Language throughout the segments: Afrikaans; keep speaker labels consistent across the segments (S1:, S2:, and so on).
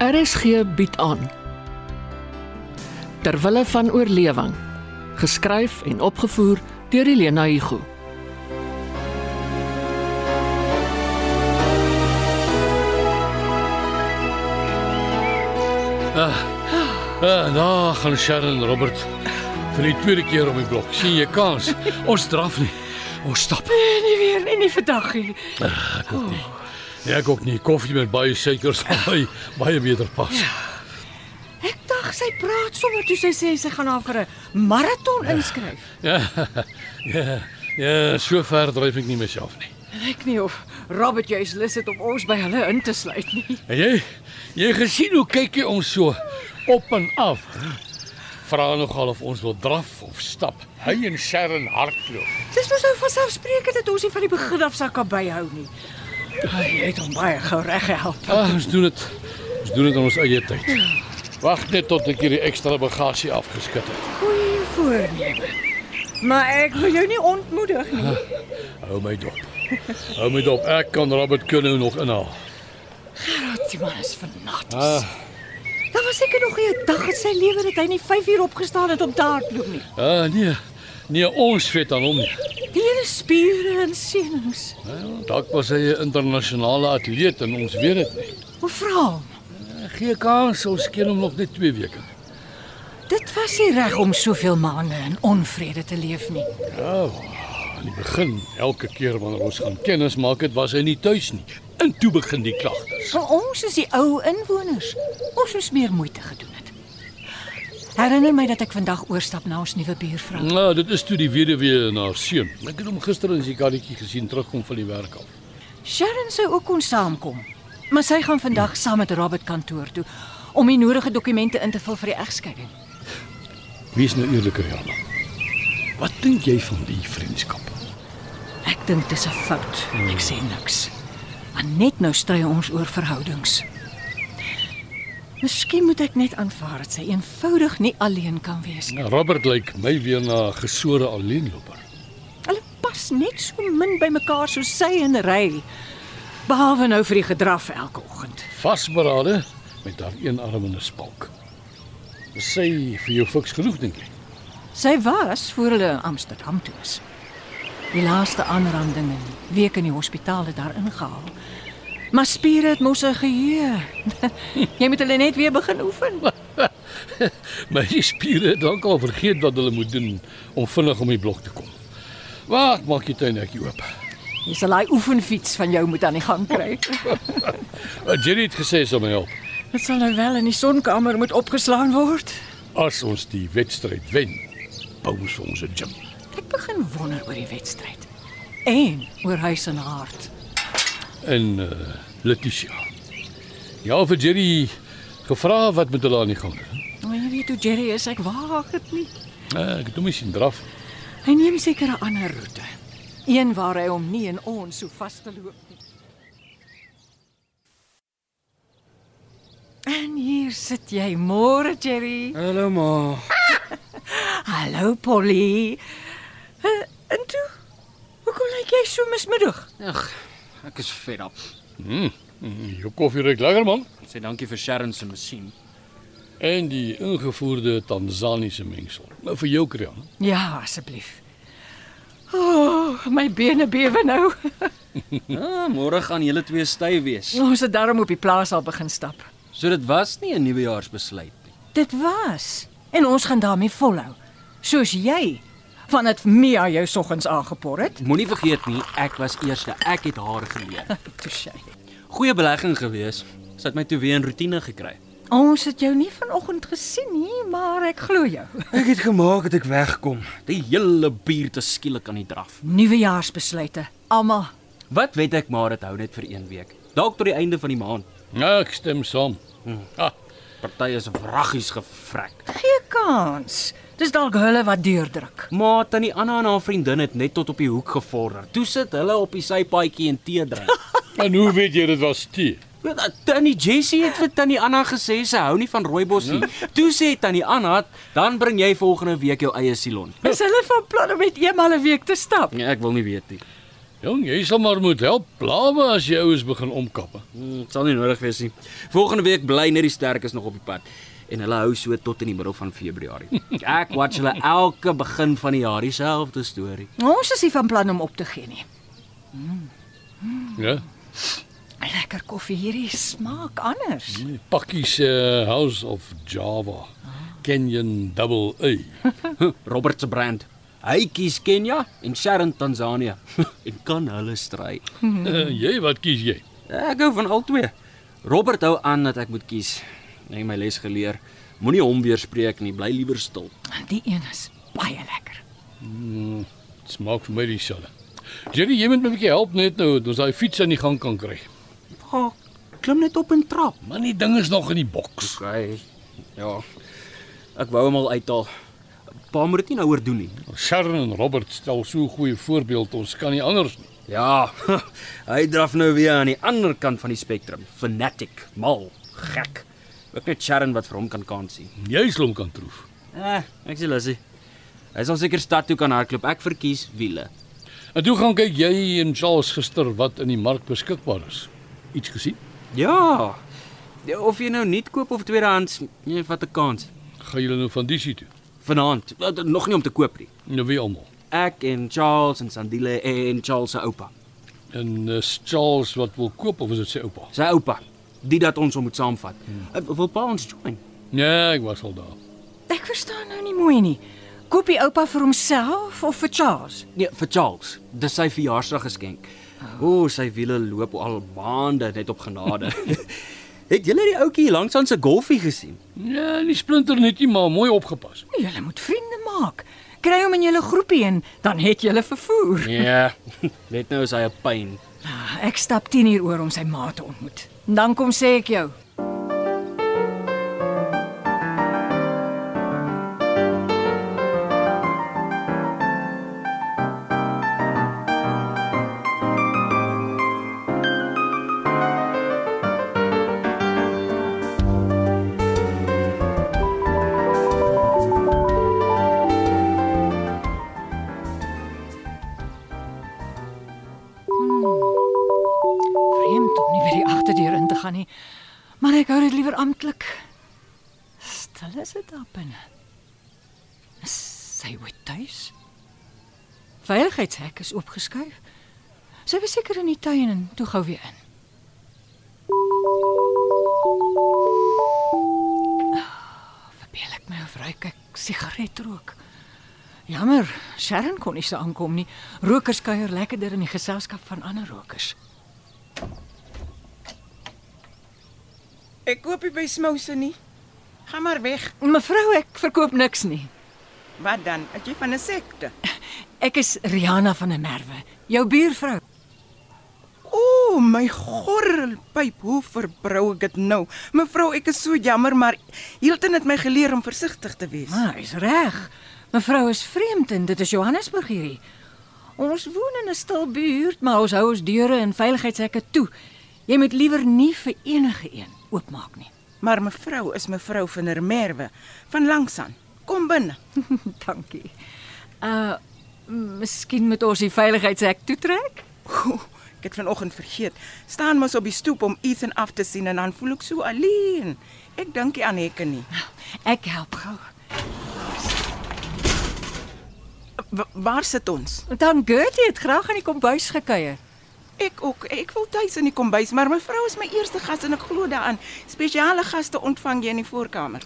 S1: RSG bied aan Terwille van oorlewing geskryf en opgevoer deur Elena Igu
S2: Ah, nou gaan Sharon Robert vir die tweede keer om die blok. Sien jy kans? Ons straf nie. Ons Oh, stap.
S3: Nie weer nie, nie vandag nie.
S2: Nee, ek ook nie. Koffie met baie suiker sal my baie beter pas.
S3: Ek dink sy praat sommer toe sy sê sy gaan haar vir 'n maraton inskryf.
S2: Ja. Ja. Ja, so ver dryf ek nie myself nie.
S3: Ek nie of Robert jy's lus het om ons by hulle in te sluit nie.
S2: En jy? Jy gesien hoe kyk jy ons so op en af? Vra nogal of ons wil draf of stap. Hy en Sharon hardloop.
S3: Dis mos nou vanselfsprekend dat ons nie van die begin af sak kan byhou nie. Ai, Jy het hom baie gou reg gehelp.
S2: Ah, ons doen dit. Ons doen dit in ons eie tyd. Wag net tot ek hierdie ekstra bagasie afgeskit het.
S3: Goeie voorneme. Maar ek wil jou nie ontmoedig nie.
S2: Hou my dop. Hou my dop. Ek kan Robert Kunou nog inhaal.
S3: Wat die man is vernat.
S2: Ah.
S3: Daar was seker nog nie 'n dag in sy lewe dat hy nie 5 uur opgestaan het om te hardloop nie.
S2: Ah nee. Nee, ons vet aan hom nie.
S3: Die hele spiere en senuwees.
S2: Wel, Ja, Dalk was hy 'n internasionale atleet en ons weet dit nie.
S3: Hoe vra hom?
S2: Gee kans, ons ken hom nog net 2 weke.
S3: Dit was nie reg om soveel maande in onvrede te leef nie.
S2: Aan die begin, elke keer wanneer ons gaan kennis maak, het was hy nie tuis nie. En toe begin die klagtes.
S3: Vir ons is die ou inwoners. Ons moes meer moeite gedoen het. Herinner my dat ek vandag oorstap na ons nuwe buurvrou.
S2: Nou, dit is toe die weduwee en haar seun. Ek het hom gister in sy karretjie gesien terugkom van die werk af.
S3: Sharon sou ook kon saamkom, maar sy gaan vandag saam met Robert kantoor toe om die nodige dokumente in te vul vir die egskeiding.
S2: Wees nou eerlik, Rihanna. Wat dink jy van die vriendskap?
S3: Ek dink dis 'n fout. Ek sê niks. Want net nou stry ons oor verhoudings. Miskien moet ek net aanvaar dat sy eenvoudig nie alleen kan wees nie.
S2: Nou, Robert lyk my weer na 'n gesore alleenloper.
S3: Hulle pas net so min by mekaar soos sy en Ray. Behalwe nou vir die gedraf elke oggend.
S2: vasberade met haar een arm in 'n spalk. Is Sy vir jou fiks genoeg dink jy?
S3: Sy was voor hulle in Amsterdam toe is. Die laaste aanranding in die week in die hospitaal het daar ingehaal. Maar spiere het mos 'n geheue. Jy moet hulle net weer begin oefen.
S2: My spiere het dalk al vergeet wat hulle moet doen om vinnig om die blok te kom. Wag, maak jy tuinhekkie oop.
S3: Jy sal daai oefenfiets van jou moet aan die gang kry.
S2: Uh, Jerry het gesê sy sal my help
S3: Dit sal nou wel in die sonkamer moet opgeslaan word.
S2: as ons die wedstryd wen. Bou ons vir ons 'n gym.
S3: Ek begin wonder oor die wedstryd. En oor huis en hart.
S2: En uh, Letitia. Ja, vir Jerry gevra wat met hulle aan die gang is.
S3: Maar jy weet hoe Jerry is, ek waag dit nie.
S2: Uh, ek het hom sien draf.
S3: Hy neem seker 'n ander roete. Een waar hy hom nie en ons so vas te loop nie. En hier sit jy môre, Jerry.
S4: Hallo ma.
S3: Hallo Polly. Uh, en toe? Hoekom lyk jy so mismoedig?
S4: Ag, ek is vet op.
S2: Mm, mm, jou koffie ruik lekker man.
S4: Sê dankie vir Sharon se masjien.
S2: En die ingevoerde Tanzaniese mengsel. Nou vir jou Krian.
S3: Ja, asseblief. O, oh, my bene bewe nou.
S4: Ah, môre gaan julle twee styf wees.
S3: Ons het daarom op die plaas al begin stap.
S4: So dit was nie 'n nuwejaarsbesluit nie.
S3: Dit was en ons gaan daarmee volhou. Soos jy van dit Mia jou soggens aangepor het.
S4: Moenie vergeet nie, ek was eerste. Ek het haar geleer.
S3: Toe sê.
S4: Goeie belegging gewees. Sy het my toe weer in rotine gekry.
S3: Ons het jou nie vanoggend gesien nie, maar ek glo jou.
S4: Ek het gemaak dat ek wegkom. Die hele buurt is skielik aan die draf.
S3: Nuwejaarsbesluite, almal.
S4: Wat weet ek maar dit hou net vir een week. Dalk tot die einde van die maand.
S2: Ja, ek stem saam. Ah,
S4: Party is wraggies gevrek.
S3: Gee kans. Dis dalk hulle wat deurdruk.
S4: Maar tannie Anna en haar vriendin het net tot op die hoek gevorder. Toe sit hulle op die sypaadjie en tee drink.
S2: en hoe weet jy dit was tee?
S4: Wel, Tannie Jessie het vir Tannie Anna gesê sy hou nie van rooibos nie. Toe sê Tannie Anna, dan bring jy volgende week jou eie silon.
S3: Is hulle van plan om net eenmal 'n week te stap?
S4: Nee, ek wil nie weet nie.
S2: Jong, jy sal maar moet help plawe as jy oues begin omkappe.
S4: Hmm, Dit sal nie nodig wees nie. Volgende week bly net die sterkes nog op die pad en hulle hou so tot in die middel van Februarie. Ek watch hulle elke begin van die jaar dieselfde storie.
S3: Ons is nie van plan om op te gee nie.
S2: Ja.
S3: Lekker koffie hierdie smaak anders.
S2: Pakkies uh, House of Java. Kenyan Double A.
S4: Robert se brand. Hy kies Kenja en Sharon Tanzanië en kan hulle stry.
S2: Uh, jy wat kies jy?
S4: Ek hou van al twee. Robert hou aan dat ek moet kies. Hy het my les geleer. Moenie hom weerspreek nie, bly liewer stil.
S3: Die een is baie lekker.
S2: Smaak vir my dieselfde. Jerry, jy moet my 'n bietjie help net nou, dat ons daai fiets aan die gang kan kry.
S4: Ga, klim net op en trap.
S2: Man, die ding is nog in die boks.
S4: Okay. Ja. Ek wou hom al uithaal. Pa moet dit nie nou oor doen nie.
S2: Sharon en Robert stel so 'n goeie voorbeeld, ons kan nie anders nie.
S4: Ja. Hy draf nou weer aan die ander kant van die spektrum. Fanatic, mal, gek. Ook net Sharon wat vir hom kan kans sien.
S2: Jy slom kan troef.
S4: Eh, ek sê Lucy. Hy sal seker stad toe kan hardloop. Ek verkies wiele.
S2: En toe gaan kyk jy en Charles gister wat in die mark beskikbaar is. Iets gesien?
S4: Ja. Of jy nou nuut koop of tweedehands, jy vat 'n kans.
S2: Gaan julle nou van disie toe?
S4: Vanaand, wat, nog nie om te koop nie.
S2: Nou wie almal?
S4: Ek en Charles en Sandile en Charles se oupa.
S2: En uh, Charles wat wil koop of is dit sy oupa?
S4: Sy oupa, die dat ons hom moet saamvat. Hmm. Wil pa ons join?
S2: Nee, ek was al daar.
S3: Ek verstaan nou nie mooi nie. Koop die oupa vir homself of vir Charles?
S4: Nee, vir Charles. Dis sy verjaarsdag geskenk. O, oh, sy wiele loop al maande net op genade. Het julle die ouetjie langs aan se golfie gesien?
S2: Ja, nie splinter net nie, maar mooi opgepas.
S3: Nee, Julle moet vriende maak. Kry hom in julle groepie in, dan het julle vervoer. Ah,
S4: Ja. Net nou is hy 'n pyn.
S3: Ek stap 10 uur oor om sy ma te ontmoet. Dan kom sê ek jou. Vreemd om nie by die agterdeur in te gaan nie. Maar ek hou dit liewer amptelik. Stil is dit daar binne. Is Sy word tuis. Veiligheidshek is oopgeskuif. Sy was seker in die tuin en toe gou weer in. Ah, Verbeel ek my of ruik ek sigaretrook. Jammer, Sharon kon nie se aankom nie. Rokers kuier lekkerder in die geselskap van ander rokers.
S5: Ek koop nie by Smouse nie. Gaan maar weg.
S3: Mevrou, ek verkoop niks nie.
S5: Wat dan? As jy van 'n sekte.
S3: Ek is Rihanna van der Merwe, jou buurvrou.
S5: O, my gorrelpyp, hoe verbrou ek dit nou? Mevrou, ek is so jammer, maar Hilton het my geleer om versigtig te wees.
S3: Maar hy's reg. Mevrou is vreemd en dit is Johannesburg hierdie. Ons woon in 'n stil buurt, maar ons hou ons deure en veiligheidshekke toe. Jy moet liewer nie vir enige een oopmaak nie.
S5: Maar mevrou is mevrou van der Merwe van Langsaan. Kom binne.
S3: Dankie. Uh miskien moet ons die veiligheidshek toetrek?
S5: O, Ek het vanoggend vergeet. Staan mos op die stoep om Ethan af te sien en dan voel ek so alleen. Ek dink nie aan hekke nie.
S3: Ek help gou.
S5: Wa- Waar sit ons?
S3: Dan Gertie het graag in die kombuis gekuier.
S5: Ek ook. Ek wil tuis in die kombuis, maar mevrou is my eerste gas en ek glo daaraan. Spesiale gaste ontvang jy in die voorkamer.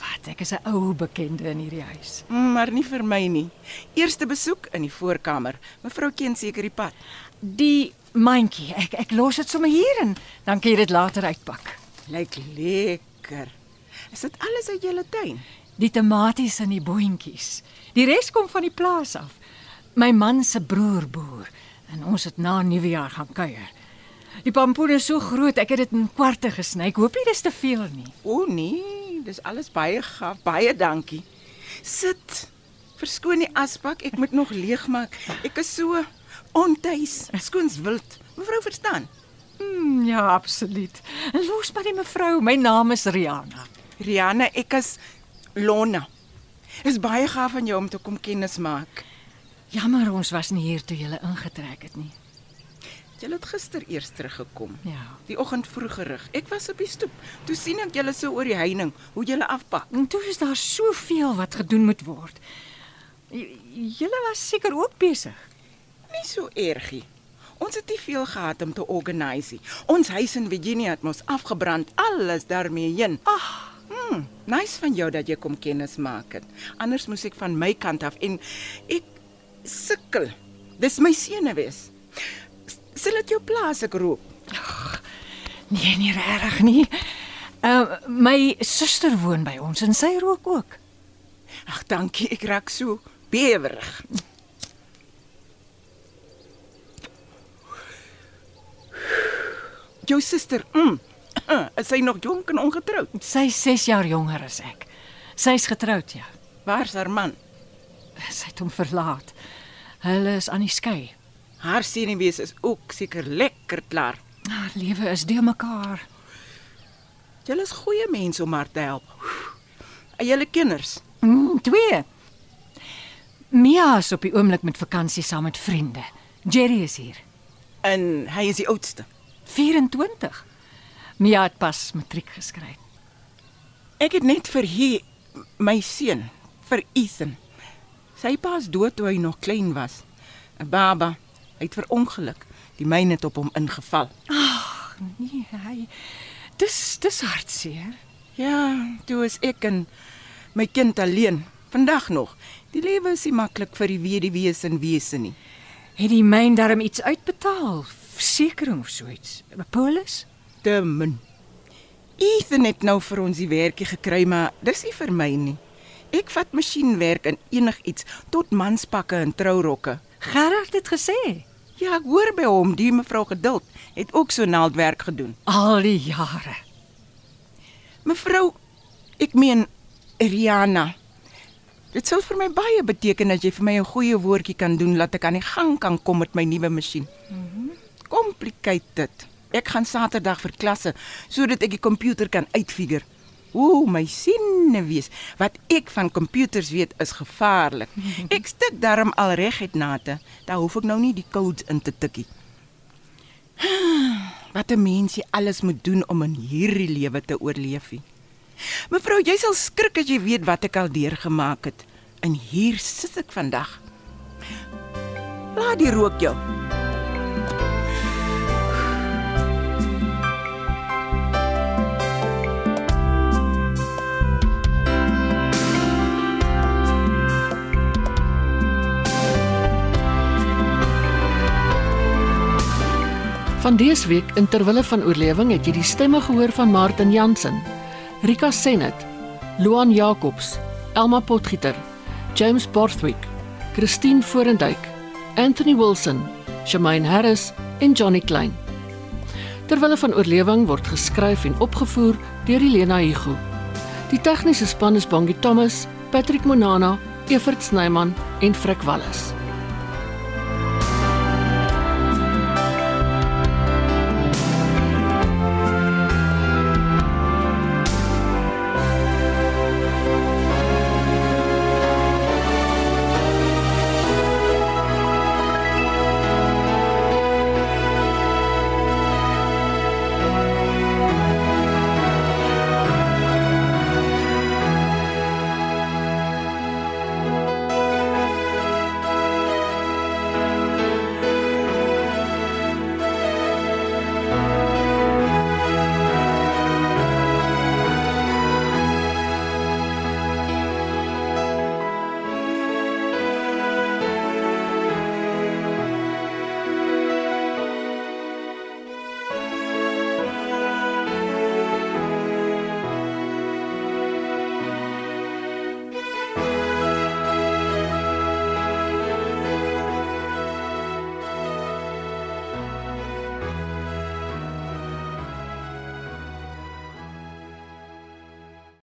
S3: Wat, ek is 'n ou bekende in hierdie huis.
S5: Mm, Maar nie vir my nie. Eerste besoek in die voorkamer. Mevrou ken seker die pad.
S3: Die mandjie, ek ek los dit sommer hier en dan kan jy dit later uitpak.
S5: Lyk lekker. Is dit alles uit julle tuin?
S3: Die tomaties in die boontjies. Die res kom van die plaas af. My man se broer boer en ons het na Nuwejaar gaan kuier. Die pampoen is so groot, ek het dit in kwarte gesny. Ek hoop nie dis te veel nie.
S5: O nee, dis alles baie gaaf. Baie dankie. Sit. Verskoon die asbak, ek moet nog leegmaak. Ek is so ontuis, skoons wild. Mevrou verstaan.
S3: Hmm, ja, absoluut. En los maar die mevrou, my naam is Rihanna.
S5: Rihanna, ek is Lona. Is baie gaaf van jou om te kom kennis maak.
S3: Jammer ons was nie hier toe jy ingetrek het nie.
S5: Julle het gister eers teruggekom.
S3: Ja.
S5: Die oggend vroeg gerig. Ek was op die stoep. Toe sien ek julle so oor die heining, hoe julle afpak.
S3: En toe is daar soveel wat gedoen moet word. J- Julle was seker ook besig.
S5: Nie so ergie. Ons het nie veel gehad om te organise. nie. Ons huis in Virginia het mos afgebrand, alles daarmee heen. Ag, hmm, nice van jou dat jy kom kennis maak het. Anders moes ek van my kant af en ek sukkel. Dis my senuwees. S- Sal dit jou plaas ek roep?
S3: Nee, nie regtig nie. Ehm uh, my suster woon by ons en sy rook ook.
S5: Ag, dankie, ek raak so bewerig. Jou suster, mm, is sy nog jonk en ongetroud?
S3: Sy's 6 jaar jonger as ek. Sy's getroud, ja.
S5: Waar's haar man?
S3: Sy het hom verlaat. Hulle is aan die skei.
S5: Haar senuwees is ook seker lekker klaar.
S3: Haar lewe is deur mekaar.
S5: Julle is goeie mense om haar te help. En julle kinders,
S3: Mm, twee. Mia is op die oomblik met vakansie saam met vriende. Jerry is hier.
S5: en hy is die oudste.
S3: 24. Mia het pas matriek geskryf.
S5: Ek het net vir hier my seun, vir Ethan. Sy pa is dood toe hy nog klein was. 'n Baba. Hy het verongeluk. Die myn het op hom ingeval.
S3: Nee, hy Dis dis hartseer.
S5: Ja, toe is ek en my kind alleen. Vandag nog. Die lewe is nie maklik vir die weduwees en wese nie.
S3: Het die myn darm iets uitbetaal? Versekering of so iets? 'n Polis?
S5: te min. Ethan het nou vir ons die werkie gekry, maar dis nie vir my nie. Ek vat masjienwerk en enigiets tot manspakke en trourokke.
S3: Gerard het gesê
S5: Ja, ek hoor by hom, die mevrou Geduld het ook so naaldwerk gedoen.
S3: al die jare.
S5: Mevrou, ek meen Rihanna. Dit sou vir my baie beteken as jy vir my 'n goeie woordjie kan doen laat ek aan die gang kan kom met my nuwe masjien. Mhm. Complicated. Ek gaan Saterdag vir klasse sodat ek die komputer kan uitfigure. Ooh, my sinne wees. Wat ek van komputers weet is gevaarlik. Ek stik darm al reguit nate. Daar hoef ek nou nie die codes in te tikkie. Wat 'n mens jy alles moet doen om in hierdie lewe te oorleef. nie. Mevrou, jy sal skrik as jy weet wat ek al deurgemaak het. En hier sit ek vandag. Laat die rook jou.
S1: Van dese week in terwille van oorlewing het jy die stemme gehoor van Martin Jansen, Rika Senet, Luan Jacobs, Elma Potgieter, James Borthwick, Christine Forendyk, Anthony Wilson, Shamaine Harris en Johnny Klein. Terwille van oorlewing word geskryf en opgevoer deur Elena Igu. Die tegniese span is Bongie Thomas, Patrick Monana, Evert Snyman en Frik Wallis.